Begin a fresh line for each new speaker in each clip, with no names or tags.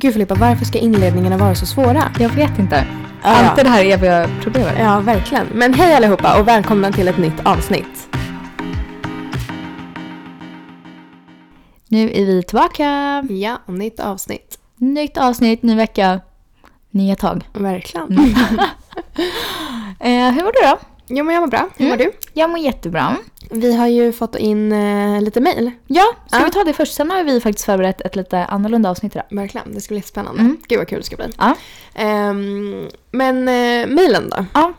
Gud Filippa, varför ska inledningarna vara så svåra?
Jag vet inte.
Ja.
Alltid det här eviga problemet.
Ja, verkligen. Men hej allihopa och välkomna till ett nytt avsnitt.
Nu är vi tillbaka.
Ja, och nytt avsnitt.
Nytt avsnitt, ny vecka, nya tag.
Verkligen.
Eh, hur mår du då?
Jo, men jag mår bra. Hur mår du?
Jag mår jättebra.
Vi har ju fått in eh, lite mejl.
Ja, ska
Ja.
vi ta det först? Sen har vi faktiskt förberett ett lite annorlunda avsnitt idag.
Verkligen, det ska bli spännande.
Mm.
Gud vad kul det ska bli.
Ja.
Ehm, men eh, mejlen då?
Ja.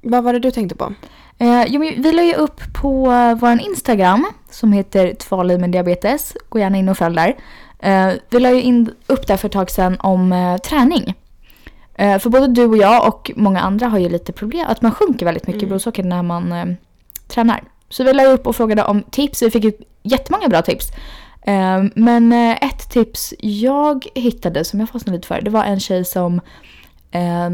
Vad var det du tänkte på?
Eh, jo, men vi la ju upp på eh, vår Instagram som heter Tvali med diabetes. Gå gärna in och följ där. Eh, vi la ju in, upp där för ett tag sedan om eh, träning. Eh, för både du och jag och många andra har ju lite problem att man sjunker väldigt mycket
Mm.
blodsocker när man eh, tränar. Så vi la ju upp och frågade om tips. Vi fick ju jättemånga bra tips. Eh, men eh, ett tips jag hittade som jag fastnade lite för det var en tjej som eh,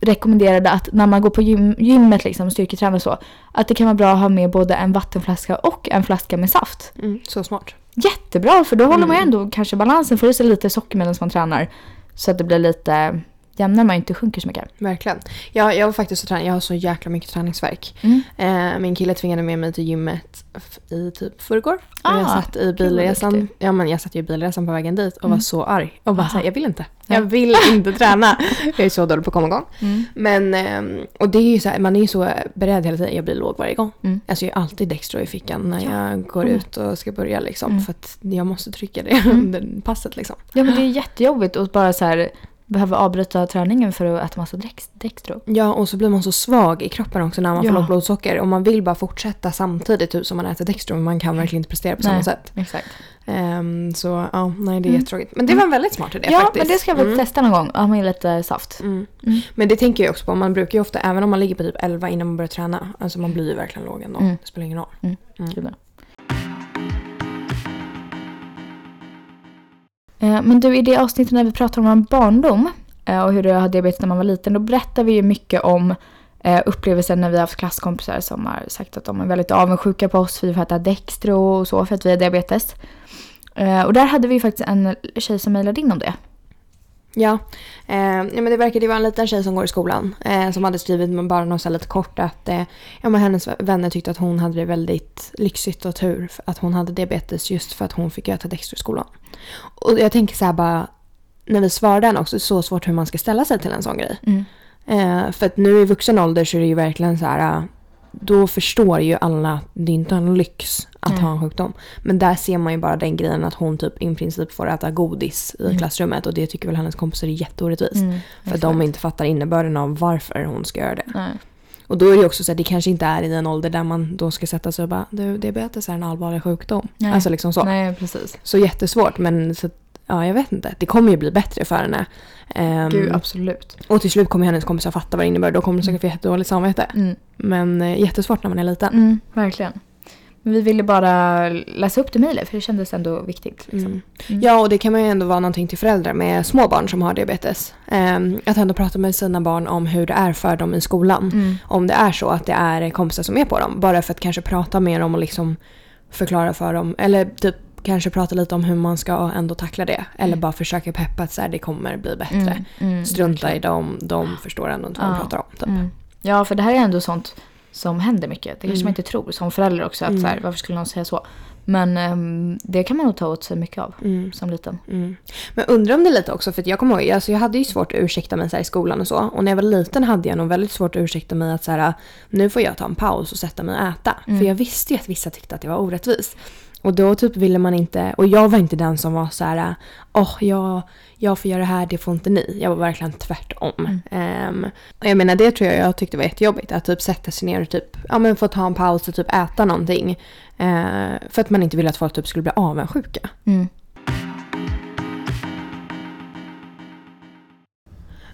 rekommenderade att när man går på gym, gymmet liksom, styrketränar och så, att det kan vara bra att ha med både en vattenflaska och en flaska med saft.
Mm, så smart.
Jättebra för då håller man ju
Mm.
ändå kanske balansen, får i sig lite socker medan man tränar. Så att det blir lite jämnare, man inte sjunker så mycket.
Verkligen. Jag, jag var faktiskt och tränade. Jag har så jäkla mycket träningsverk.
Mm.
Eh, min kille tvingade med mig till gymmet f- i typ förrgår.
Ah,
och jag satt i
vad
bilresan.
duktig.
Ja, men jag satt ju i bilresan på vägen dit och var
Mm.
så arg. Och bara
Aha.
såhär, jag vill inte.
Nej.
Jag vill inte träna. Jag är så dålig på att komma igång.
Mm.
Men, ehm, och det är ju så här, man är ju så beredd hela tiden. Jag blir låg varje gång.
Mm.
Alltså jag har alltid Dextro i fickan när
Ja.
jag går
Mm.
ut och ska börja liksom.
Mm.
För att jag måste trycka det under passet liksom.
Ja men det är jättejobbigt att bara så här behöva avbryta träningen för att äta massa Dex- Dextro.
Ja, och så blir man så svag i kroppen också när man
Ja.
får lågt blodsocker. Och man vill bara fortsätta samtidigt typ, som man äter Dextro, men man kan verkligen inte prestera på samma
Nej.
sätt.
Exakt.
Ehm, så ja, nej det är
Mm.
jättetråkigt. Men det var en väldigt smart idé
ja
faktiskt.
men det ska vi
Mm.
testa någon gång, ha med lite saft.
Mm.
Mm.
Men det tänker jag också på, man brukar ju ofta, även om man ligger på typ 11 innan man börjar träna, alltså man blir ju verkligen låg ändå.
Mm.
Det spelar ingen roll.
Kul. Eh, Men du, i det avsnittet när vi pratar om vår barndom eh, och hur jag hade diabetes när man var liten, då berättar vi ju mycket om eh, upplevelsen när vi har haft klasskompisar som har sagt att de är väldigt avundsjuka på oss för att vi får äta Dextro och så för att vi har diabetes. Eh, Och där hade vi ju faktiskt en tjej som mejlade in om det.
Ja. Ehm, ja, men det verkade ju vara en liten tjej som går i skolan eh, som hade skrivit men bara något så här lite kort att eh, ja, men hennes vänner tyckte att hon hade det väldigt lyxigt och tur för att hon hade diabetes just för att hon fick äta Dextro i skolan. Och jag tänker så här bara, när vi svarar den också, så svårt hur man ska ställa sig till en sån grej.
Mm,
Eh, för att nu i vuxen ålder så är det ju verkligen så här. eh, Då förstår ju alla att det inte är en lyx att
Nej.
ha en sjukdom. Men där ser man ju bara den grejen att hon typ i princip får äta godis i
Mm.
klassrummet och det tycker väl hennes kompisar är jätteorättvist.
Mm,
För
exakt.
att de inte fattar innebörden av varför hon ska göra det.
Nej.
Och då är det ju också så att det kanske inte är i en ålder där man då ska sätta sig och bara du diabetes är en allvarlig sjukdom.
Nej.
Alltså liksom så.
Nej, precis.
Så jättesvårt men så, att- ja jag vet inte. Det kommer ju bli bättre för henne. Ehm,
Gud, absolut.
och till slut kommer hennes kompisar fatta vad det innebär. Då kommer de säkert få jättedåligt samvete.
Mm.
Men eh, jättesvårt när man är liten.
Mm, verkligen. Men vi ville bara läsa upp det mejlet för det kändes ändå viktigt. Liksom.
Mm.
Mm.
Ja, och det kan man ju ändå vara någonting till föräldrar med små barn som har diabetes. Ehm, att ändå prata med sina barn om hur det är för dem i skolan.
Mm.
Om det är så att det är kompisar som är på dem. Bara för att kanske prata med dem och liksom förklara för dem. Eller typ kanske prata lite om hur man ska ändå tackla det. Eller bara försöka peppa att så här, det kommer bli bättre.
Mm, mm,
Strunta i
verkligen.
dem, de förstår ändå inte vad de
Ja.
pratar om. Typ.
Mm. Ja, för det här är ändå sånt som händer mycket. Det kanske
Mm.
man inte tror som förälder också. Att
Mm.
så här, varför skulle någon säga så? Men ehm, det kan man nog ta åt sig mycket av
Mm.
som liten.
Mm. Men undrar om det lite också, för att jag kommer ihåg, alltså jag hade ju svårt att ursäkta mig så här i skolan och så. Och när jag var liten hade jag nog väldigt svårt att ursäkta mig att så här, nu får jag ta en paus och sätta mig och äta.
Mm.
För jag visste ju att vissa tyckte att det var orättvist. Och då typ ville man inte, och jag var inte den som var så här, åh jag, jag får göra det här, det får inte ni. Jag var verkligen tvärtom. Ehm, och jag menar det tror jag jag tyckte var jättejobbigt, att typ sätta sig ner och typ, ja men få ta en paus och typ äta någonting. Eh, för att man inte ville att folk typ skulle bli avundsjuka.
Mm.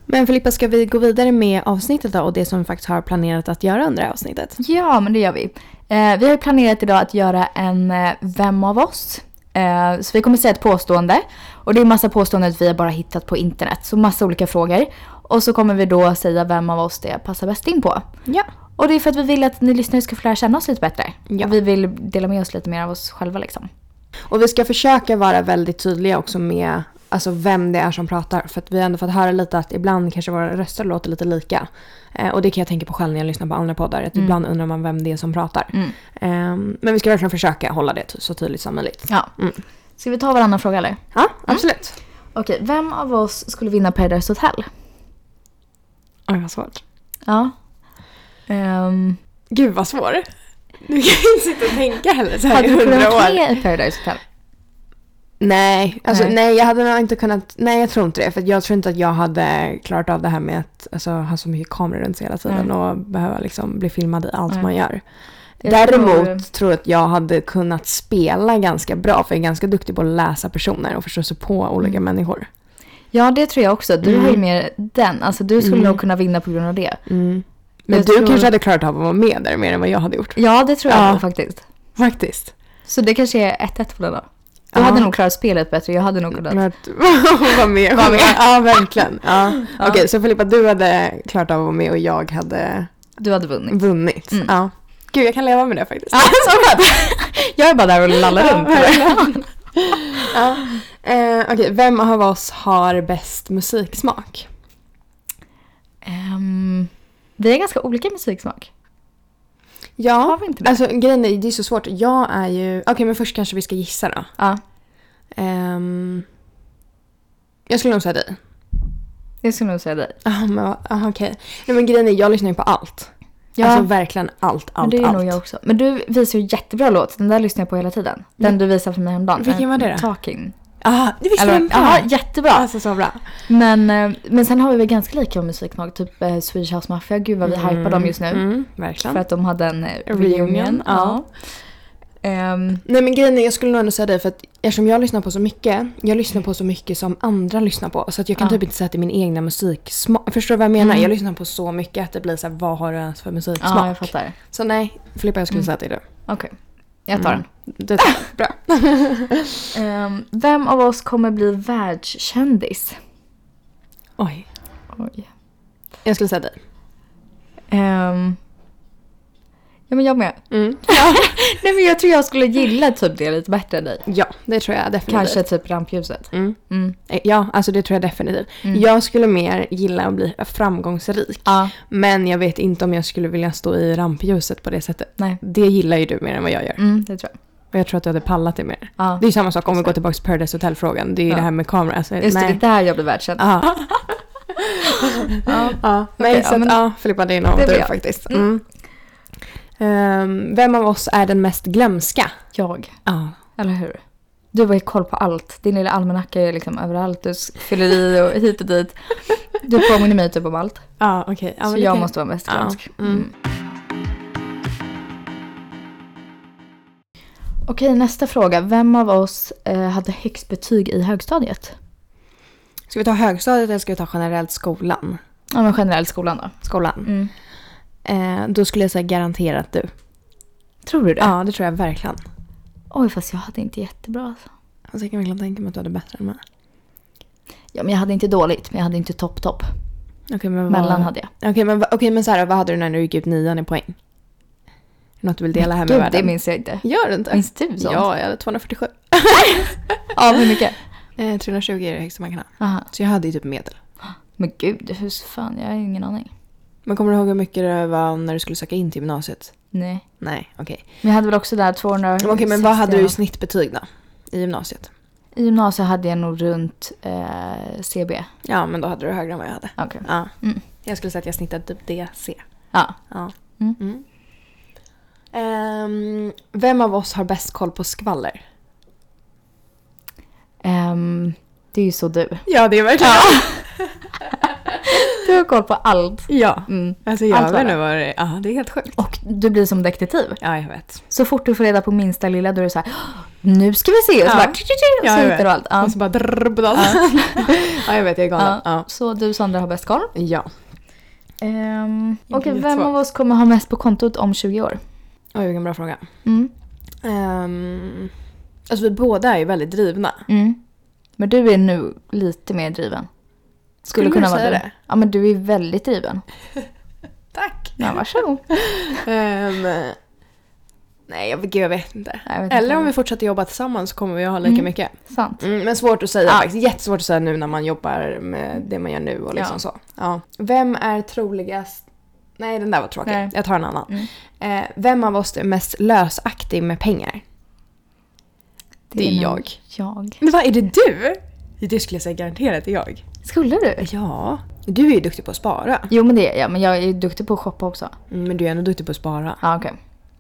Men Filippa, ska vi gå vidare med avsnittet då och det som vi faktiskt har planerat att göra under det här avsnittet?
Ja, men det gör vi. Eh, vi har ju planerat idag att göra en eh, Vem av oss? Eh, så vi kommer säga ett påstående. Och det är massa påståenden vi har bara hittat på internet. Så massa olika frågor. Och så kommer vi då säga vem av oss det passar bäst in på.
Ja.
Och det är för att vi vill att ni lyssnare ska få lära känna oss lite bättre.
Ja.
Och vi vill dela med oss lite mer av oss själva liksom.
Och vi ska försöka vara väldigt tydliga också med alltså vem det är som pratar. För att vi har ändå fått höra lite att ibland kanske våra röster låter lite lika. Eh, och det kan jag tänka på själv när jag lyssnar på andra poddar, att
Mm.
ibland undrar man vem det är som pratar.
Mm.
Eh, men vi ska verkligen försöka hålla det så tydligt som möjligt.
Ja.
Mm.
Ska vi ta varannan fråga eller?
Ja, absolut.
Okej, vem av oss skulle vinna Paradise Hotel?
Oj, vad svårt.
Ja. Ehm,
Gud vad svår. Du kan inte sitta och tänka heller så här
hade
i
du
hundra
kunnat vara
år.
med i Paradise Hotel?
Nej, alltså,
Nej.
nej. jag hade nog inte kunnat. Nej jag tror inte det. För jag tror inte att jag hade klarat av det här med att alltså, ha så mycket kameror runt sig hela tiden
Nej.
och behöva liksom, bli filmad i allt
Nej.
man gör.
Mm. Jag
Däremot
tror-
tror... jag att jag hade kunnat spela ganska bra för jag är ganska duktig på att läsa personer och förstå sig på olika
Mm.
människor.
Ja, det tror jag också. Du
Mm.
har ju mer den. Alltså du skulle
Mm.
nog kunna vinna på grund av det.
Men
Mm. Jag
du
tror-
kanske hade klarat av att vara med där mer än vad jag hade gjort.
Ja, det tror jag
Ja.
nog faktiskt.
Faktiskt.
Så det kanske är 1-1 på den då. Du
Ja.
hade nog klarat spelet bättre. Jag hade nog kunnat.
Men att vara med.
Vara med.
Ja, verkligen. Ja.
Ja.
Okej, så Filippa, du hade klart av att vara med och jag hade
Du hade vunnit.
vunnit.
Mm.
Ja. Gud, jag kan leva med det faktiskt.
Alltså, vad? jag är bara där och lallar
Ja,
runt.
verkligen. ja. eh, Okej, vem av oss har bäst musiksmak?
Ehm, vi har ganska olika musiksmak. Har
Ja,
vi inte det?
alltså grejen är, det är så svårt. Jag är ju... Okej, men först kanske vi ska gissa då.
Ja,
Ehm, jag skulle nog säga dig.
jag skulle nog säga dig.
Ah, men vad- ah, okej. Nej, men grejen är, jag lyssnar ju på allt.
Ja,
Alltså verkligen allt,
men
allt,
det är
allt.
nog jag också. Men du visar ju jättebra låt. Den där lyssnar jag på hela tiden. Den du visade för mig häromdagen.
Vilken var det då?
Talking.
Ah, det visste
Eller,
jag
ja, jättebra.
Alltså så bra.
Men, eh, men sen har vi väl ganska lika musiksmak, typ eh, Swedish House Mafia. Gud vad vi hypar dem just nu.
Mm,
För
verkligen.
att de hade en eh, reunion.
Reunion,
ja.
ja.
Ehm,
Nej men grejen är, jag skulle nog ändå säga det för att eftersom jag lyssnar på så mycket, jag lyssnar på så mycket som andra lyssnar på. Så att jag kan
Ja.
typ inte säga att det är min egna musiksmak. Förstår du vad jag menar?
Mm.
Jag lyssnar på så mycket att det blir så här, vad har du ens för musiksmak?
ja, jag fattar. Mm.
Så nej, Filippa jag skulle säga att det är du.
Okej, jag tar
Mm. Det är bra.
den. Ehm, vem av oss kommer bli världskändis?
Oj.
Oj.
Jag skulle säga dig.
Ehm, ja men jag med.
Mm.
Nej men jag tror jag skulle gilla typ det lite bättre än dig.
Ja, det tror jag definitivt.
Kanske typ rampljuset.
Mm.
Mm.
Ja, alltså det tror jag definitivt.
Mm.
Jag skulle mer gilla att bli framgångsrik.
Ja,
Men jag vet inte om jag skulle vilja stå i rampljuset på det sättet.
nej.
Det gillar ju du mer än vad jag gör.
Mm, det tror jag.
Och jag tror att du hade pallat det mer.
Ja.
Det är ju samma sak om vi går tillbaka till Paradise Hotel-frågan. Det är ju
Ja.
det här med kamera. Alltså,
Just det, det
nej.
är där jag blir världskänd.
Ja.
Ja.
Ja.
Okej,
Nej, så
ja,
att,
men-
ja, Filippa det är nog
Det blir
du
jag.
faktiskt. Mm. Ehm, vem av oss är den mest glömska?
Jag.
Ja.
Eller hur? Du har ju koll på allt. Din lilla almanacka är liksom överallt. Du fyller i och hit och dit. Du påminner mig typ om allt.
Ja, okej. Ja,
så
men det
jag
kan-
måste vara mest
Ja,
glömsk.
mm.
Mm. Okej, nästa fråga. Vem av oss eh, hade högst betyg i högstadiet?
Ska vi ta högstadiet eller ska vi ta generellt skolan?
Ja, men generellt skolan då.
Skolan. Eh, då skulle jag säga garanterat du.
Tror du det?
Ja, det tror jag verkligen.
Oj, fast jag hade inte jättebra. Alltså.
Alltså, jag kan verkligen tänka mig att du hade bättre än mig.
Ja, men jag hade inte dåligt, men jag hade inte topp, topp.
Okej, men vad...
Mellan hade jag.
Okej, men, vad- okej, men så här, vad hade du när du gick ut nian i poäng? Är det Något du vill dela här med
Gud,
världen?
det minns jag inte.
Gör du inte?
Minns du sånt?
Ja, jag hade 247.
Av hur mycket?
Eh, 320 är det högsta man kan ha.
Aha.
Så jag hade ju typ medel.
Men gud, hur fan, jag har ingen aning.
Men kommer du ihåg hur mycket det var när du skulle söka in till gymnasiet?
Nej.
Nej, okej.
Men jag hade väl också där 200...
Okej, men vad hade du i snittbetyg då? I gymnasiet?
I gymnasiet hade jag nog runt eh, CB.
Ja, men då hade du högre än vad jag hade.
Okej.
Ja.
Mm.
Jag skulle säga att jag snittade typ DC.
Ja.
Ja.
Mm.
Ehm, vem av oss har bäst koll på skvaller?
Ehm, det är ju så du.
Ja, det är verkligen
Du har koll på allt.
Ja.
Mm.
Alltså
jag
jag
vet
vet
nu
nu vad det är. Ja, det är helt sjukt.
Och du blir som detektiv.
Ja, jag vet.
Så fort du får reda på minsta lilla då är du så här, "Åh, nu ska vi se. Och så,
Ja.
bara, tju, tju, tju, och
Ja,
så
jag
hittar du
vet.
allt. Ja.
Och så bara drrrr på dagen. Ja, jag vet. Jag är galen.
Ja.
Ja.
Så du Sandra har bäst koll.
ja.
Um,
Jag
Okej,
vet
vem
vad.
av oss kommer ha mest på kontot om 20 år?
Oj, vilken bra fråga.
Mm.
Um, alltså vi båda är ju väldigt drivna.
Mm. Men du är nu lite mer driven. Skulle,
Skulle
kunna
du
vara
säga
du.
det?
Ja, men du är väldigt driven.
Tack!
Ja, varsågod.
Ehm, Nej, jag, gud, jag vet inte.
Nej, jag vet
Eller
inte.
om vi fortsätter jobba tillsammans så kommer vi ha lika
Mm.
mycket.
Sant.
Mm, men svårt att säga
Ja.
faktiskt. Jättesvårt att säga nu när man jobbar med det man gör nu och liksom
Ja.
så. Ja. Vem är troligast... Nej, den där var tråkig.
Nej.
Jag tar en annan.
Mm.
Eh, vem av oss är mest lösaktig med pengar? Det är
nog
jag.
Mm. Jag.
Men vad, är det du? Det skulle jag säga garanterat är jag.
Skulle du?
Ja. Du är ju duktig på att spara.
Jo men det är jag, men jag är ju duktig på att shoppa också.
Mm, Men du är ändå duktig på att spara.
Ja okej.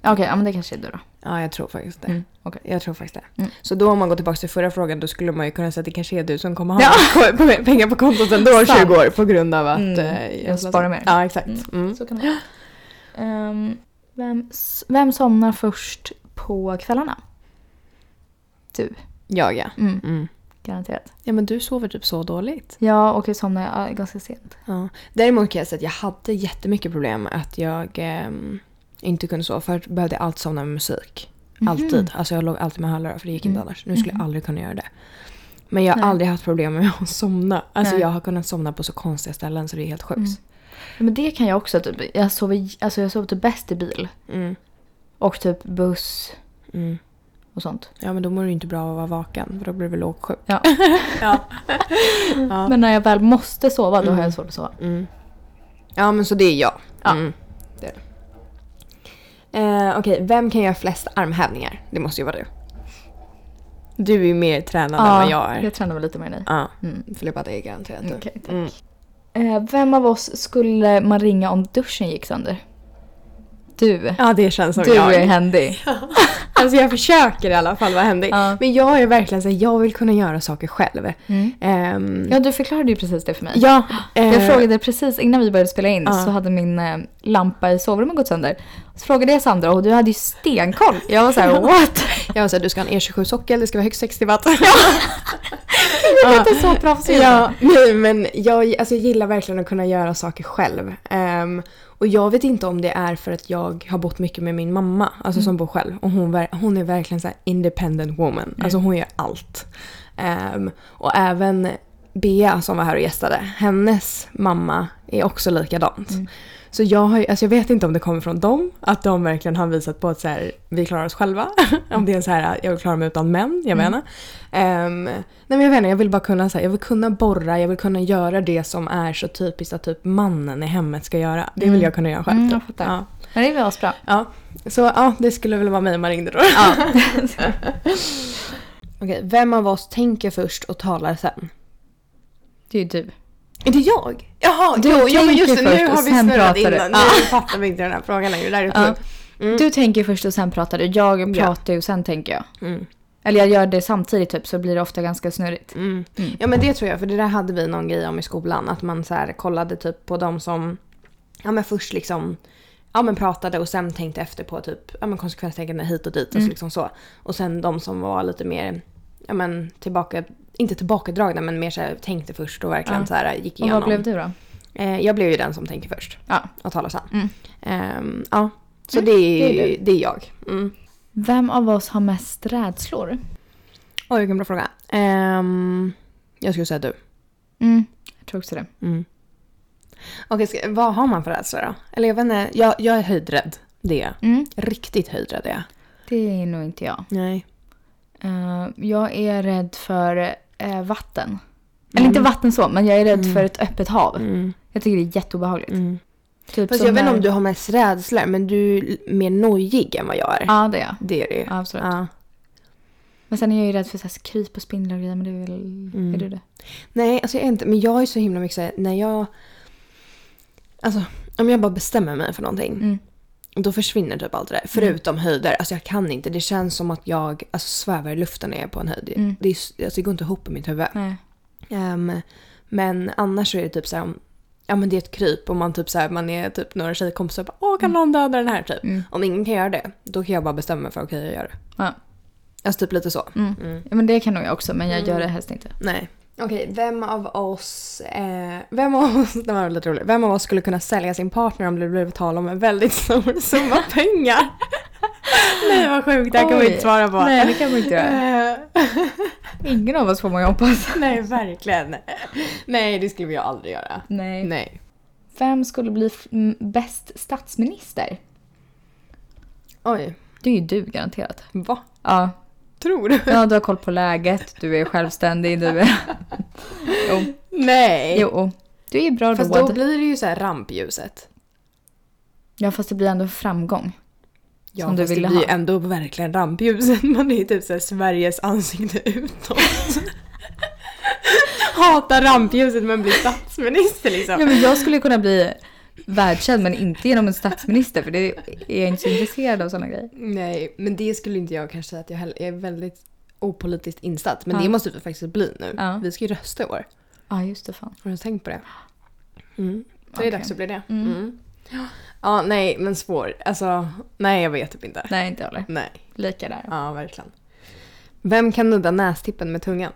Okej, ja men det kanske är du då.
Ja, jag tror faktiskt det.
Mm, okej.
Jag tror faktiskt det.
Mm.
Så då om man går tillbaka till förra frågan då skulle man ju kunna säga att det kanske är du som kommer ha
Ja.
ko- pengar på kontot ändå om
Sant.
20 år på grund av att...
Mm.
eh,
Jag sparar mer.
Ja, exakt.
Mm.
Mm.
Så kan det vara. Ehm, vem, s- vem somnar först på kvällarna? Du.
Jag ja.
Mm,
Mm.
garanterat.
Ja men du sover typ så dåligt.
Ja, och jag somnar ja, ganska sent.
Ja. Däremot kan jag säga att jag hade jättemycket problem att jag ehm, inte kunde sova. Förut behövde jag alltid somna med musik. Alltid. Alltså jag låg alltid med hörlurar för det gick inte
Mhm. Mm.
annars. Nu skulle jag
Mhm.
aldrig kunna göra det. Men jag har
Nej.
aldrig haft problem med att somna. Alltså
Nej.
jag har kunnat somna på så konstiga ställen så det är helt
Mm.
sjukt.
Ja, Men det kan jag också. Typ. Jag sover alltså jag sover typ bäst i bil.
Mm.
Och typ buss
Mm.
och sånt.
Ja men då mår du inte bra av att vara vaken för då blir du väl lågsjuk.
Ja.
ja. ja.
Men när jag väl måste sova, då har
Mm.
jag svårt att sova.
Mm. Ja men så det är jag.
Ja.
Mm. Det är det. Eh, Okej, vem kan göra flest armhävningar? Det måste ju vara du. Du är ju mer tränad än vad jag är.
Ah, jag tränar väl lite mer än dig.
Ja,
Mm.
Filippa det är garanterat du.
Okej, tack.
Mm.
Eh, vem av oss skulle man ringa om duschen gick sönder? Du.
Ja det känns som
du
jag. Mm.
är händig.
Alltså jag försöker i alla fall vara händig.
Ja.
Men jag är verkligen såhär, jag vill kunna göra saker själv.
Mm.
Ehm,
Ja, du förklarade ju precis det för mig.
ja, eh,
Jag frågade precis innan vi började spela in
Ja.
så hade min eh, lampa i sovrummet gått sönder. Så frågade jag Sandra och du hade ju stenkoll. Jag var så här, what?
Jag var såhär, du ska ha en E27-sockel, det ska vara högst 60 watt.
Jag är inte så proffsig.
Ja, nej men jag, alltså, jag gillar verkligen att kunna göra saker själv. Ehm, och jag vet inte om det är för att jag har bott mycket med min mamma, alltså som bor själv. Och hon, ver- hon är verkligen så här independent woman. Alltså hon gör allt. Ehm, och även Bea som var här och gästade, hennes mamma är också likadant. Så jag, har, ju- alltså jag vet inte om det kommer från dem, att de verkligen har visat på att så här, vi klarar oss själva. om det är så här, jag vill klara mig utan män, jag
Mm.
menar. Ehm, nej men jag vet inte, jag vill bara kunna, så här, jag vill kunna borra, jag vill kunna göra det som är så typiskt att typ mannen i hemmet ska göra. Det vill
Mm.
jag kunna göra själv.
Mm, jag
typ.
fattar.
ja.
Men det var bra.
ja. Så ja, det skulle väl vara mig man ringde då.
Ja.
Okej, vem av oss tänker först och talar sen?
Det är ju typ- du.
Är det jag? Jaha,
Du
jo, ja, men just det,
tänker
nu
först
har
och
vi
sen
snurrat in
pratar du.
den. Nu fattar vi inte den här frågan längre. Det där är
Ja.
sjukt. Mm.
Du tänker först och sen pratar du. Jag
Ja.
pratar ju och sen tänker jag.
Mm.
Eller jag gör det samtidigt typ så blir det ofta ganska snurrigt.
Mm.
Mm.
Ja men det tror jag, för det där hade vi någon grej om i skolan. Att man så här kollade typ på de som ja, men först liksom ja, men pratade och sen tänkte efter på typ, ja, men konsekvenstänkande hit och dit. Och, så
Mm.
liksom så. och sen de som var lite mer ja, men, tillbaka, inte tillbakadragna men mer så här, tänkte först och verkligen
Ja.
så här, gick
Och
igenom.
vad blev du då?
Eh, jag blev ju den som tänker först
Ja.
och talar sen.
Mm.
Ehm, ja. Så
Mm,
det, är,
det är
det är jag. Mm.
Vem av oss har mest rädslor?
Oj, vilken bra fråga. Ehm, jag skulle säga du.
Mm. Jag tror också det.
Mm. Okej, ska, vad har man för rädsla då? Eller jag vet inte, jag, jag är höjdrädd. Det är jag.
Mm.
Riktigt höjdrädd är jag.
Det är nog inte jag.
Nej.
Eh, jag är rädd för eh, vatten. Eller
Mm.
inte vatten så, men jag är rädd
Mm.
för ett öppet hav.
Mm.
Jag tycker det är jätteobehagligt.
Mm.
Typ
Fast
som
jag vet
när-
inte om du har mest rädsla, men du är l- mer nojig än vad jag är.
Ja, det är jag.
Det är det ju.
Ja, absolut.
Ja.
Men sen är jag ju rädd för så här, kryp och spindlar och grejer, men det är väl...
Mm.
Är du det?
Nej, alltså jag är inte, men jag är så himla mycket så här, när jag... Alltså, om jag bara bestämmer mig för någonting,
Mm.
då försvinner typ allt det där. Förutom höjder, alltså jag kan inte. Det känns som att jag alltså, svävar i luften när jag är på en höjd.
Mm.
Det, är, s- alltså, det går inte ihop i mitt huvud.
Nej.
Ehm, men annars så är det typ så här, om- ja men det är ett kryp och man typ så här, man är typ några tjejkompisar och bara åh kan någon döda den här typ.
Mm.
Om ingen kan göra det, då kan jag bara bestämma mig för okej jag gör det.
Ja.
Alltså typ lite så.
Mm.
Mm.
Ja, men det kan nog jag också, men jag
Mm.
gör det helst inte.
Nej. Okej, vem av oss, eh, vem av oss, det var lite roligt, vem av oss skulle kunna sälja sin partner om det blev tal om en väldigt stor summa pengar? Nej vad sjukt, det här kan vi
Oj.
inte svara på.
Nej, det kan man inte göra.
Eh,
Ingen av oss får man ju hoppas.
Nej, verkligen. Nej, det skulle jag aldrig göra.
Nej.
Nej.
Vem skulle bli f- m- bäst statsminister?
Oj.
Det är ju du garanterat.
Va?
Ja,
Tror du?
ja du har koll på läget, du är självständig, du är... Jo,
Nej.
jo. Du är bra
Fast
road.
då blir det ju så här rampljuset.
Ja, fast det blir ändå framgång.
Ja,
Som du
fast
ville
det blir ju
ha.
ändå verkligen rampljuset. Man är ju typ så här Sveriges ansikte utåt. Hatar rampljuset men blir statsminister liksom.
Ja, men jag skulle kunna bli världskänd men inte genom en statsminister för det är jag inte så intresserad av sådana grejer.
Nej, men det skulle inte jag kanske säga att jag heller jag är väldigt opolitiskt insatt. Men
Ja.
det måste vi faktiskt bli nu.
Ja.
Vi ska ju rösta i år.
Ja, just det fan.
Har du tänkt på det? Mm. Det är
Okej.
dags att bli det.
Mm.
Mm. Ja, nej, men svår. Alltså, nej jag vet typ inte.
Nej, inte jag heller.
Nej,
Lika där.
ja verkligen. Vem kan nudda nästippen med tungan?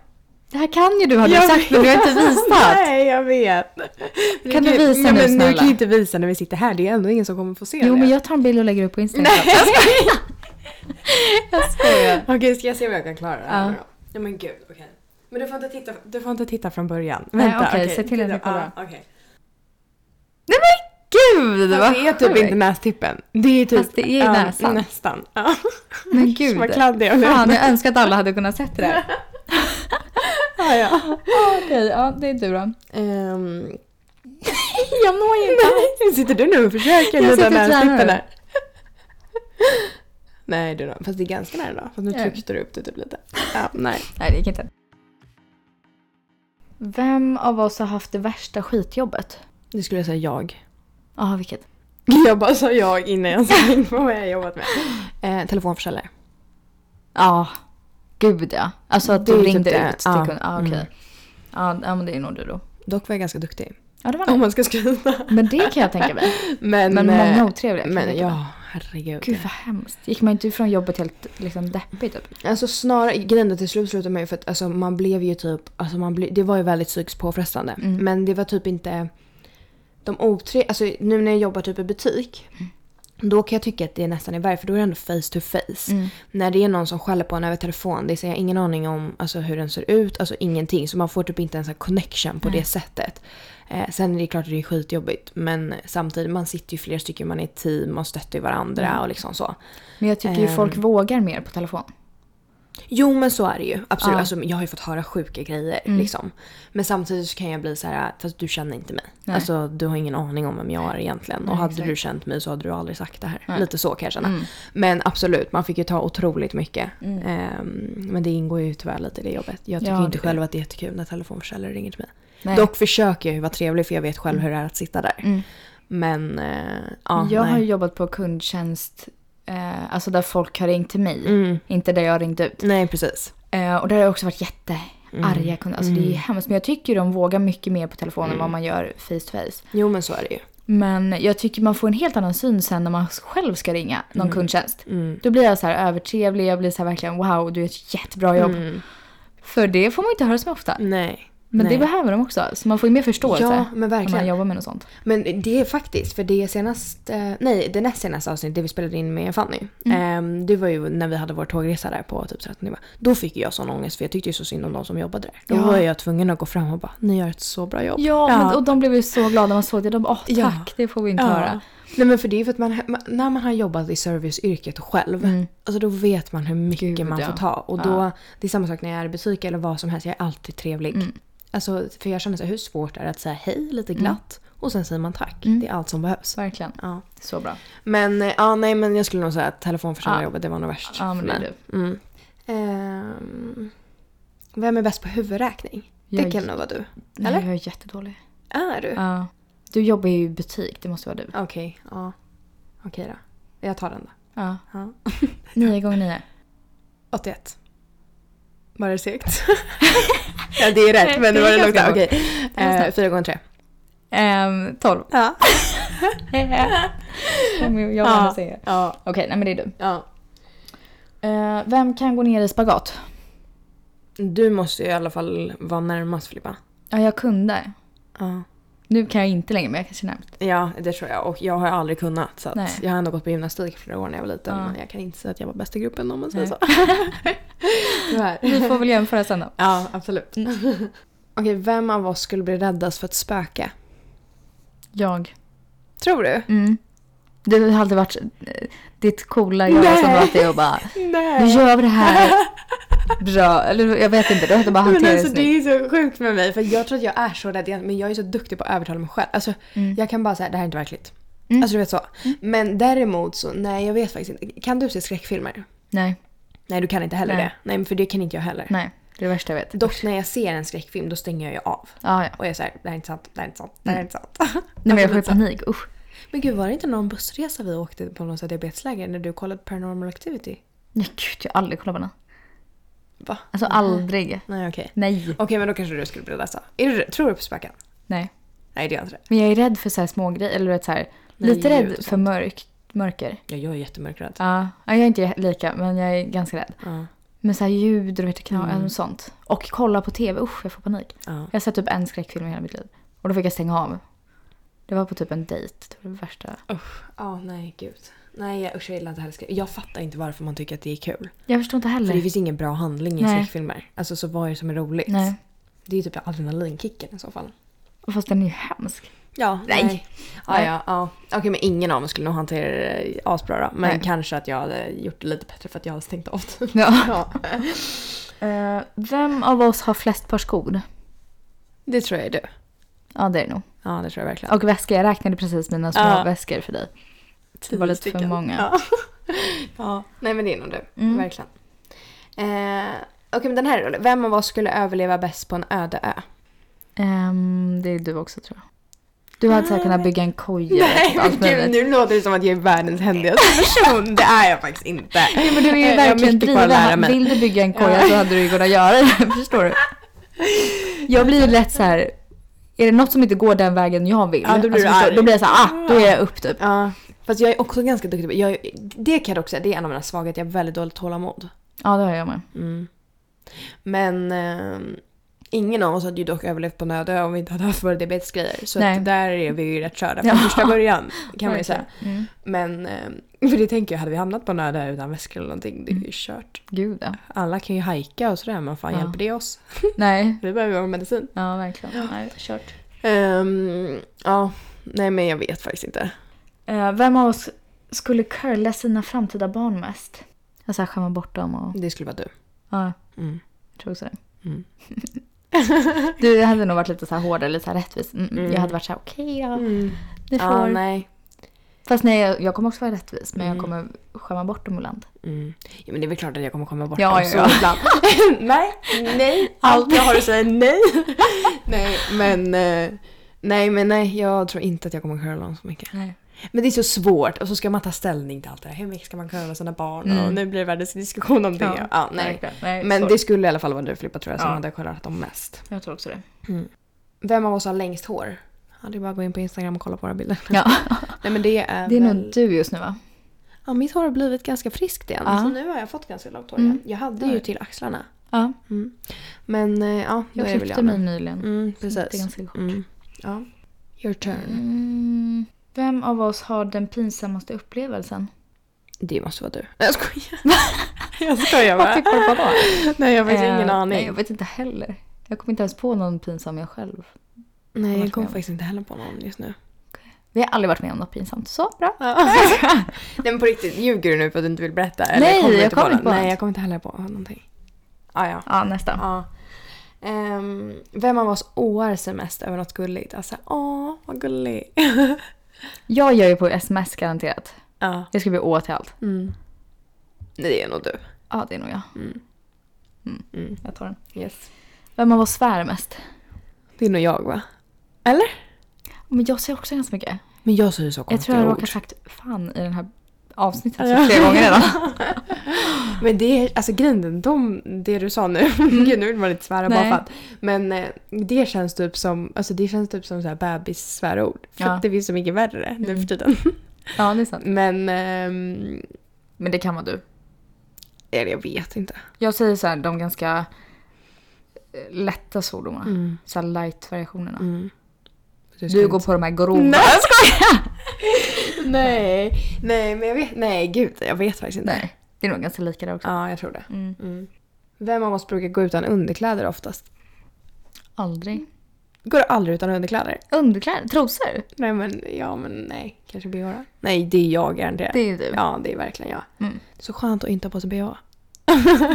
Det här kan ju du har du
Jag
sagt men du har inte
vet.
visat.
Nej, jag vet. Men
Kan
jag
du visa
ja,
nu,
men Nu
snälla?
kan jag inte visa när vi sitter här. Det är ändå ingen som kommer få se
Jo
det.
men jag tar en bild och lägger upp på Instagram.
Nej!
Jag skojar.
Okej, ska jag se om jag kan klara det här
Ja.
nu då? Ja men gud, okej. Men du får inte titta, du får inte titta från början.
Nej,
Vänta,
okej, se till att
Titta-
jag kollar.
ja, okej.
Nej men gud
Det
vad
det är typ
sjukt.
inte nästippen. Det är typ...
Fast det är
ja,
näsan.
Nästan. Ja.
Men gud.
Vad kladdig jag blev.
Fan jag önskar att alla hade kunnat sett det där.
Ja, ja.
Okej, ja det är du då.
Ehm,
Jag når ju inte.
nej, sitter du nu och försöker
Jag
nudda
sitter och tränar
nästippen
nu.
där? Nej, du då. Fast det är ganska nära då. Fast nu
Ja.
tryckte du upp det typ lite. Ja, nej.
Nej det gick inte. Vem av oss har haft det värsta skitjobbet?
Nu skulle jag säga jag.
Ja, vilket?
Jag bara sa jag innan jag sa vad jag har jobbat med. Eh, telefonförsäljare.
Ja, gud ja. Alltså att
Det
du
är typ
ringde
det.
ut till
Ja.
kunden. Ja, okej.
Mm.
Ja, ja, men det är nog du då.
Dock var jag ganska duktig.
Ja, det var
Om
det.
man ska skryta.
Men det kan jag tänka mig.
Men,
Men
eh,
många otrevliga. kan jag
Men
tänka mig.
ja, herregud.
Gud vad hemskt. Gick man inte ifrån jobbet helt liksom deppig typ?
Alltså snarare, grejen är till slut slutade med för att alltså, man blev ju typ, alltså, man ble, det var ju väldigt psykiskt påfrestande.
Mm.
Men det var typ inte, de otre, alltså nu när jag jobbar typ i butik,
Mm.
då kan jag tycka att det nästan är värre för då är det ändå face to face.
Mm.
När det är någon som skäller på en över telefon, det säger jag ingen aning om alltså, hur den ser ut, alltså ingenting. Så man får typ inte ens en connection på
Nej.
det sättet. Eh, sen är det klart att det är skitjobbigt men samtidigt, man sitter ju flera stycken, man är ett team, man stöttar ju varandra
Mm.
och liksom så.
Men jag tycker ju
Ehm.
folk vågar mer på telefon.
Jo men så är det ju. Absolut.
Ja.
Alltså, jag har ju fått höra sjuka grejer.
Mm.
Liksom. Men samtidigt så kan jag bli så här, fast du känner inte mig.
Nej.
Alltså, du har ingen aning om vem jag är egentligen.
Nej,
och hade
exakt.
du känt mig så hade du aldrig sagt det här.
Nej.
Lite så kan jag känna.
Mm.
Men absolut, man fick ju ta otroligt mycket.
Mm.
Ehm, men det ingår ju tyvärr lite i det jobbet. Jag tycker
Ja,
ju
det
inte
är
själv att det är jättekul när telefonförsäljare ringer till mig.
Nej.
Dock försöker jag ju vara trevlig för jag vet själv hur det är att sitta där.
Mm.
Men eh, ja,
jag
nej.
har ju jobbat på kundtjänst, eh, alltså där folk har ringt till mig.
Mm.
Inte där jag ringde ut.
Nej precis. Mm.
Eh, och där har jag också varit jättearga kunder. Alltså det är ju hemskt. Men jag tycker ju de vågar mycket mer på telefon än vad
Mm.
man gör face to face.
Jo men så är det ju.
Men jag tycker man får en helt annan syn sen när man själv ska ringa någon kundtjänst.
Mm.
Då blir jag så här övertrevlig, jag blir så här verkligen wow, du gör ett jättebra jobb.
Mm.
För det får man ju inte höra så ofta.
Nej.
Men
nej.
det behöver de också, så man får ju mer förståelse
Ja men
när man
verkligen.
jobbar med något sånt.
Men det är faktiskt, för det senaste, nej det näst senaste avsnittet det vi spelade in med Fanny.
Mm.
ehm, det var ju när vi hade vår tågresa där på typ 13 timmar. Då fick ju jag sån ångest för jag tyckte ju så synd om de som jobbade där. Då
Ja.
var jag tvungen att gå fram och bara, ni gör ett så bra jobb.
Ja, Men, och de blev ju så glada när man såg det. De bara, åh tack,
Ja.
det får vi inte höra.
Nej men för det är ju för att man, man- när man har jobbat i serviceyrket själv,
Mm.
alltså då vet man hur mycket
Gud,
man
ja.
får ta. Och då,
Ja.
det är samma sak när jag är i butik eller vad som helst, jag är alltid trevlig.
Mm.
Alltså för jag känner så här, hur svårt är det att säga hej lite
Mm.
glatt och sen säger man tack.
Mm.
Det är allt som behövs.
Verkligen,
Ja.
så bra.
Men eh, ja, nej men jag skulle nog säga att telefonförsäljarjobbet det var nog värst
Ja,
för
men det är
mig.
du.
Mm. Ehm, vem är bäst på huvudräkning?
Jag,
Det kan nog vara du.
nej,
eller?
jag är jättedålig.
Är du?
Ja. Du jobbar ju i butik, det måste vara du.
Okej, ja. Okej då. Jag tar den då.
Ja.
Ja.
Nio gånger nio.
81. Var det segt? ja det är rätt men
Det
nu
är
var det långt.
ganska bra.
Okej.
Det var
Eh,
snabbt.
fyra gånger tre.
Ehm, tolv.
Ja.
Men jag
Ja.
ja. säga.
Ja.
Okej, nej men det är du.
ja.
Eh, vem kan gå ner i spagat?
Du måste ju i alla fall vara närmast Filippa.
Ja, jag kunde.
Ja.
Nu kan jag inte längre, men jag kanske närmast.
Ja, det tror jag. Och jag har aldrig kunnat. Så
Nej.
att jag har ändå gått på gymnastik flera år när jag var liten.
Ja.
Men jag kan inte säga att jag var bäst i gruppen om man säger
Nej.
så. Tyvärr.
Vi får väl jämföra sen då.
Ja, absolut.
Mm.
Okej, vem av oss skulle bli räddast för ett spöke?
Jag.
Tror du?
Mm. Du har alltid varit eh, ditt coola jag som
Nej.
alltid och bara nu
Nej.
gör vi det här bra. Eller jag vet inte, du har inte bara
Men
hanterat
alltså,
det
det
snyggt.
är så sjukt med mig för jag tror att jag är så rädd egentligen, men jag är så duktig på att övertala mig själv. Alltså,
Mm.
Jag kan bara säga det här är inte verkligt.
Mm.
Alltså du vet så. Men däremot så, nej jag vet faktiskt inte. Kan du se skräckfilmer?
Nej,
Nej du kan inte heller
Nej.
det. Nej men för det kan inte jag heller.
nej. Det är det värsta jag vet.
Dock när jag ser en skräckfilm då stänger jag ju av.
Ja, ja.
Och jag är såhär, det här är inte sant, det här är inte sant, det här är inte sant.
Nej, men jag
Alltså,
får ju
lite så.
panik. Usch.
Men gud var det inte någon bussresa vi åkte på någon sån här diabetesläger när du kollade på Paranormal Activity?
Nej gud, jag har aldrig kollat på den.
Va?
Alltså aldrig.
Nej okej.
Nej.
Okej men då kanske du skulle bli läsa. Är du, tror du på spöken?
Nej.
Nej det gör jag inte det.
Men jag är rädd för så här små grejer. Eller du vet så här,
Nej,
lite
ljud
rädd
och
för mörk, mörker.
Ja, jag är jättemörkrädd.
Ja, ja, jag är inte lika men jag är ganska rädd.
Ja.
Men så här ljud och du vet, knas och sånt. Och kolla på tv, usch jag får panik.
Ja.
Jag har sett typ en skräckfilm i hela mitt liv. Och då fick jag stänga av. Det var på typ en dejt. Det var det värsta.
Usch. Ja nej gud. Nej jag- usch jag gillar inte heller skräck. Jag fattar inte varför man tycker att det är kul.
Jag förstår inte heller.
För det finns ingen bra handling i
Nej.
skräckfilmer. Alltså så vad är det som är roligt?
Nej.
Det är ju typ adrenalinkicken i så fall.
Och Fast den är ju hemsk.
Ja,
Nej.
Ja,
Nej.
ja, ja. Okej, men ingen av oss skulle nog hantera det asbra då. Men
Nej.
kanske att jag hade gjort det lite bättre för att jag hade stängt av det.
Ja.
Ja,
Eh, vem av oss har flest par skor?
det tror jag är du.
Ja det är det nog.
Ja, det tror jag verkligen.
Och väskor, jag räknade precis mina små
Ja.
väskor för dig. det var lite för
Stycken.
många.
Ja. ja. Nej, men det är nog du.
Mm.
Verkligen. Eh, Okej, men den här är rolig. Vem av oss skulle överleva bäst på en öde ö?
Ehm, det är du också tror jag. Du hade säkert kunnat bygga en koja. och typ allt möjligt.
Ah, nu låter det som att jag är världens händigaste person. Det är jag faktiskt inte. Eh,
Nej, men du är
Jag
ju
har
verkligen
mycket kvar att
driven.
lära
Han-
mig.
Vill du bygga en koja
Ja.
så hade du ju kunnat göra det. Förstår du? Jag blir ju lätt så här. Är det något som inte går den vägen jag vill?
Ja,
Alltså,
då blir du
förstår
arg.
Då blir jag så här, ah, då är jag upp typ.
Ja, fast jag är också ganska duktig på... Jag, är- det kan jag också säga, det är en av mina svagheter. Jag har väldigt dåligt tålamod.
Ja, det har jag med.
Mm. Men eh, ingen av oss hade ju dock överlevt på nödö om vi inte hade haft våra diabetesgrejer. Så
Nej.
att där är vi ju rätt körda
Ja.
från första början kan man ju
Verkligen.
säga.
Mm.
Men, eh, för det tänker jag, hade vi hamnat på nödö utan väskor eller någonting, det är ju kört.
Gud ja.
Alla kan ju hajka och sådär, men fan
Mm. Ja.
hjälper det oss?
Nej.
Vi behöver vår medicin.
Ja, verkligen. Nej, kört.
Ehm, ja, nej men jag vet faktiskt inte.
Eh, vem av oss skulle curla sina framtida barn mest? Alltså, Jag så här, skämma bort dem och...
Det skulle vara du.
Ja,
Mm.
jag tror också det.
Mm.
du jag hade nog varit lite så här hårdare, lite så här rättvis. Mm, mm.
Mm.
Jag hade varit så här, okej ja.
Mm.
Ni får.
Ja, nej.
Fast nej, jag, jag kommer också vara rättvis. Men jag
Mm.
kommer skämma bort dem ibland.
Mm. Ja, men det är väl klart att jag kommer komma bort
Ja,
dem
ja,
så
ja.
ibland. nej, nej, allt
Aldrig.
jag har att säga är nej. nej, men eh, nej, men nej, jag tror inte att jag kommer curla dem så mycket.
Nej.
Men det är så svårt och så ska man ta ställning till allt det här. Hur mycket ska man curla sina barn?
Mm.
Och nu blir det världens diskussion om det. Ja. nej.
verkligen. nej
Men
så-
det skulle i alla fall vara du Filippa tror jag som
Ja.
hade curlat dem mest.
Jag tror också det.
Vem av oss har längst hår? Ja, det är bara att gå in på Instagram och kolla på våra bilder.
Ja.
Nej men det är
Det är
väl...
nog du just nu va?
Ja, mitt hår har blivit ganska friskt igen.
Ja.
Så nu har jag fått ganska långt hår
Mm.
igen. Jag hade
Ja.
ju till axlarna.
Ja.
Mm. Men eh, ja, då
Jag
är det väl
klippte
jag.
mig
nu.
nyligen.
Mm,
Det är
precis.
ganska kort.
Mm. Ja. Your turn.
Mm. Vem av oss har den pinsammaste upplevelsen?
Det måste vara du. Nej, Jag skojar. jag skojar bara.
du på då?
Nej, jag har faktiskt
Eh,
ingen
Nej,
aning.
jag vet inte heller. Jag kommer inte ens på någon pinsam jag själv.
Nej,
jag
jag kommer
vet.
faktiskt inte heller på någon just nu.
Vi har aldrig varit med om något pinsamt. Så bra.
Nej men på riktigt, ljuger du nu för att du inte vill berätta? Eller
Nej,
kommer du
jag
inte på
kommer
någon?
inte på
Nej,
något.
jag kommer inte heller på någonting. Ah, ja,
Ja, nästa.
ja. Ehm, vem av oss oar sig mest över något gulligt? Alltså, åh, vad gullig.
Jag gör ju på sms garanterat.
ja.
Jag ska bli å till allt.
Mm. Nej, det är nog du.
Ja, det är nog jag.
Mm.
Mm.
Mm.
Jag tar den.
Yes.
Vem av oss svär mest?
Det är nog jag va? Eller?
Men jag säger också ganska mycket.
Men jag säger så
Jag tror
konstiga
jag
jag
råkar
ord.
sagt fan i den här avsnittet
Ja.
så flera gånger redan.
Men det är, alltså grejen, de, det du sa nu, gud nu vill man inte svära bara
Mm. Nej.
för att. Men eh, det känns typ som, alltså det känns typ som så här bebissvärord. För
Ja.
att det finns så mycket värre nu för
Mm.
tiden.
Ja, det är sant.
Men, ehm,
Men det kan vara du.
eller jag vet inte.
Jag säger så här, de ganska eh, lätta svordomarna.
Mm.
Så här light-variationerna.
Mm.
Du går på de här grova.
Nej, jag skojar! nej, nej, men jag vet, nej gud, jag vet faktiskt inte.
Nej, det är nog ganska lika där också.
Ja, jag tror det.
Mm.
Vem av oss brukar gå utan underkläder oftast?
Aldrig.
Går aldrig utan underkläder?
Underkläder? Trosor?
Nej men, ja men nej. Kanske bh då? Nej, det är jag garanterat.
Det är ju du.
Ja, det är verkligen jag.
Mm.
Det är så skönt att inte ha på sig bh.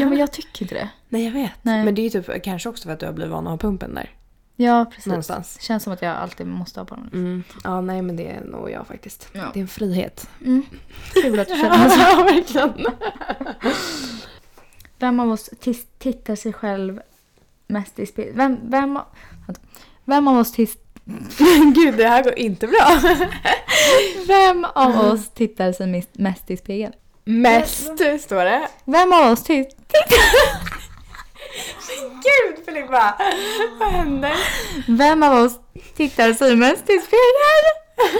Ja men jag tycker inte det.
Nej, jag vet.
Nej.
Men det är ju typ kanske också för att du har blivit van att ha pumpen där.
Ja precis.
Någonstans.
Känns som att jag alltid måste ha på den.
Mm. Ja, nej men det är nog jag faktiskt.
Ja.
Det är en frihet.
Mm. Kul att du känner så.
verkligen.
Vem av oss tis- tittar sig själv mest i spegeln? Vem, vem, av- vänta. vem av oss tis-
Gud, det här går inte bra.
Vem av oss tittar sig mis- mest i spegeln?
Mest, står det.
Vem av oss tis-
Gud Filippa! Vad händer?
Vem av oss tittar sig mest i spegeln?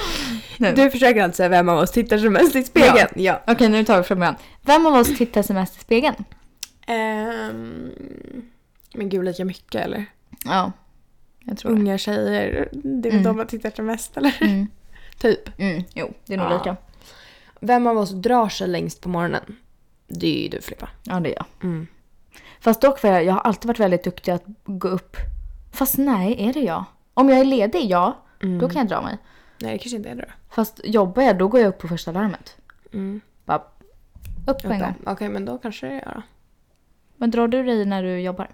Nu.
Du försöker alltså säga vem av oss tittar som mest i spegeln?
Ja.
ja.
Okej, nu tar vi från början. Vem av oss tittar sig mest i spegeln?
Ehm, men gud, lika mycket eller?
Ja, jag tror det.
Unga tjejer, det är väl
Mm.
de man tittar till mest eller?
Mm.
Typ.
Mm. Jo, det är nog
Ja.
lika.
Vem av oss drar sig längst på morgonen? Det är ju du Filippa.
Ja, det är jag.
Mm.
Fast dock, var jag, jag har alltid varit väldigt duktig att gå upp. Fast nej, är det jag? Om jag är ledig, ja. Då kan jag dra mig.
Mm. Nej, det kanske inte är det då.
Fast jobbar jag, då går jag upp på första larmet.
Mm.
Bara upp på en
Vänta.
gång.
Okej, men då kanske det är jag då.
Men drar du dig när du jobbar?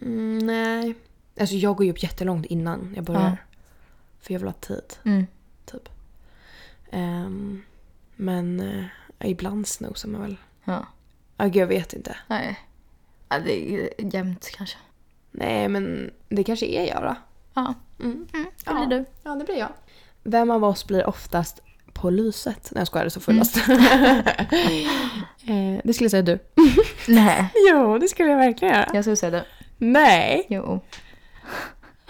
Mm, nej. Alltså jag går ju upp jättelångt innan jag börjar.
Ja.
För jag vill ha tid.
Mm.
Typ. Ehm, men eh, ibland snosar man väl.
Ja.
Ja, gud, jag vet inte.
Nej. Ja, det är jämnt kanske.
Nej, men det kanske är jag då.
Ja.
Mm.
Mm, det
Ja.
blir du.
Ja, det blir jag. Vem av oss blir oftast på lyset? När jag skojar, det är så fullast. eh, det skulle jag säga du.
Nej.
Jo, det skulle jag verkligen göra.
Jag skulle säga det.
Nej.
Jo.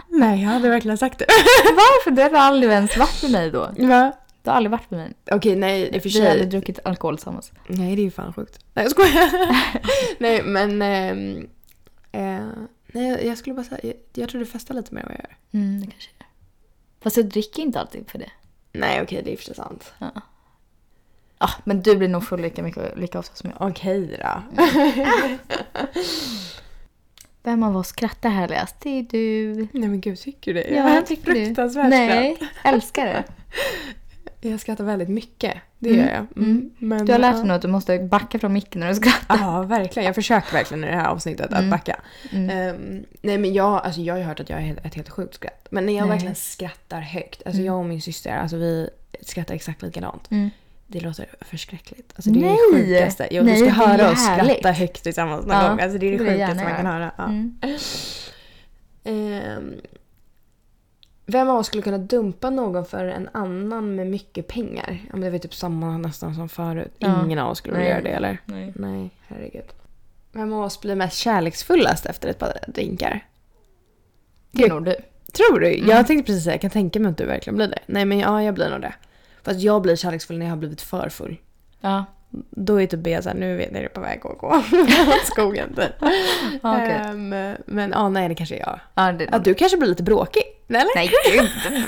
Nej, jag hade verkligen sagt det.
Varför? Du har aldrig ens varit med mig då.
Va?
Du har aldrig varit med mig.
Okej, nej, i och för
Vi har aldrig
sig.
druckit alkohol tillsammans.
Nej, det är ju fan sjukt. Nej, jag skojar. nej, men... ehm, eh, nej, jag- jag skulle bara säga... Jag, jag tror du festar lite mer än vad jag gör.
Mm, det kanske är. Fast jag dricker inte alltid för det.
Nej, okej, det är i och för sig sant.
Ja, Ah, men du blir nog full lika mycket lika ofta som jag.
Okej då.
Vem av oss skrattar härligast? Det är du.
Nej men gud, tycker du det?
Ja, jag tycker du.
Fruktansvärt skratt.
Nej, älskar det.
Jag skrattar väldigt mycket. Det
Mm.
gör jag.
Mm.
Men,
Du har lärt
ja.
dig nu att du måste backa från micken när du skrattar.
Ja, verkligen. Jag försöker verkligen i det här avsnittet att
Mm.
backa.
Mm.
Ehm, nej men jag, alltså jag har ju hört att jag är ett helt sjukt skratt. Men när jag
Nej.
verkligen skrattar högt, alltså jag och min syster, alltså vi skrattar exakt likadant.
Mm.
Det låter förskräckligt. Alltså det är det
Nej.
sjukaste. Jo,
Nej,
du
det
ska
är
höra oss
härligt.
skratta högt tillsammans någon
Ja,
gång. Alltså det är det
det vill jag
sjukaste man kan höra.
gärna
Ja.
Mm.
Ehm, vem av oss skulle kunna dumpa någon för en annan med mycket pengar? Ja, men det var ju typ samma nästan som förut.
Ja.
Ingen av oss skulle vilja
Nej.
göra det eller?
Nej.
Nej, herregud. Vem av oss blir mest kärleksfullast efter ett par drinkar?
Det är nog du.
Tror du? Jag tänkte precis säga, jag kan tänka mig att du verkligen blir det. Nej men ja, jag blir nog det. Fast jag blir kärleksfull när jag har blivit för full.
Ja,
Då är typ Bea såhär, nu vet ni, det är på väg att gå åt skogen typ.
ja okej.
Ehm, men ja, nej det kanske är jag.
Ja, det är
Ja,
nog
du kanske blir lite bråkig? Nej, eller?
Nej gud, bråkig!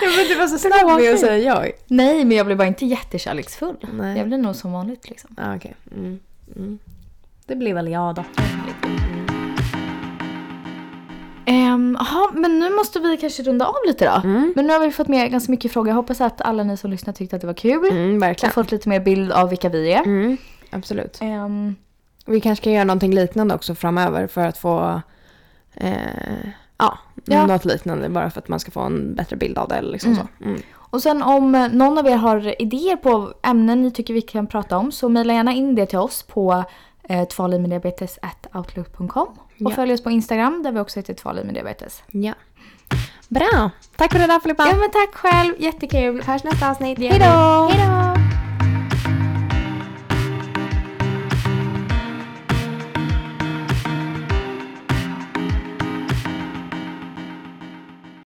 Ja, men du var så snabb med att säga jag.
Nej, men jag blir bara inte jättekärleksfull.
Nej.
Jag blir nog som vanligt liksom.
Ja, okej. Mm. Mm. Det blir väl jag då.
Ehm, Jaha, men nu måste vi kanske runda av lite då.
Mm.
Men nu har vi fått med ganska mycket frågor. Jag hoppas att alla ni som lyssnar tyckte att det var kul.
Mm,
Och
verkligen.
fått lite mer bild av vilka vi är.
Mm, absolut.
Ehm,
Vi kanske kan göra någonting liknande också framöver för att få eh, ja,
Ja.
något liknande bara för att man ska få en bättre bild av det. eller Liksom
Mm.
så. Mm.
och sen om eh, någon av er har idéer på ämnen ni tycker vi kan prata om så mejla gärna in det till oss på eh, tvalivmeddiabetes.outlook.com
Ja.
och följ oss på Instagram där vi också heter tvalivmeddiabetes.
Ja. Bra. Tack för det där Filippa.
Ja men tack själv, jättekul.
Hörs nästa avsnitt.
Hejdå! Hejdå!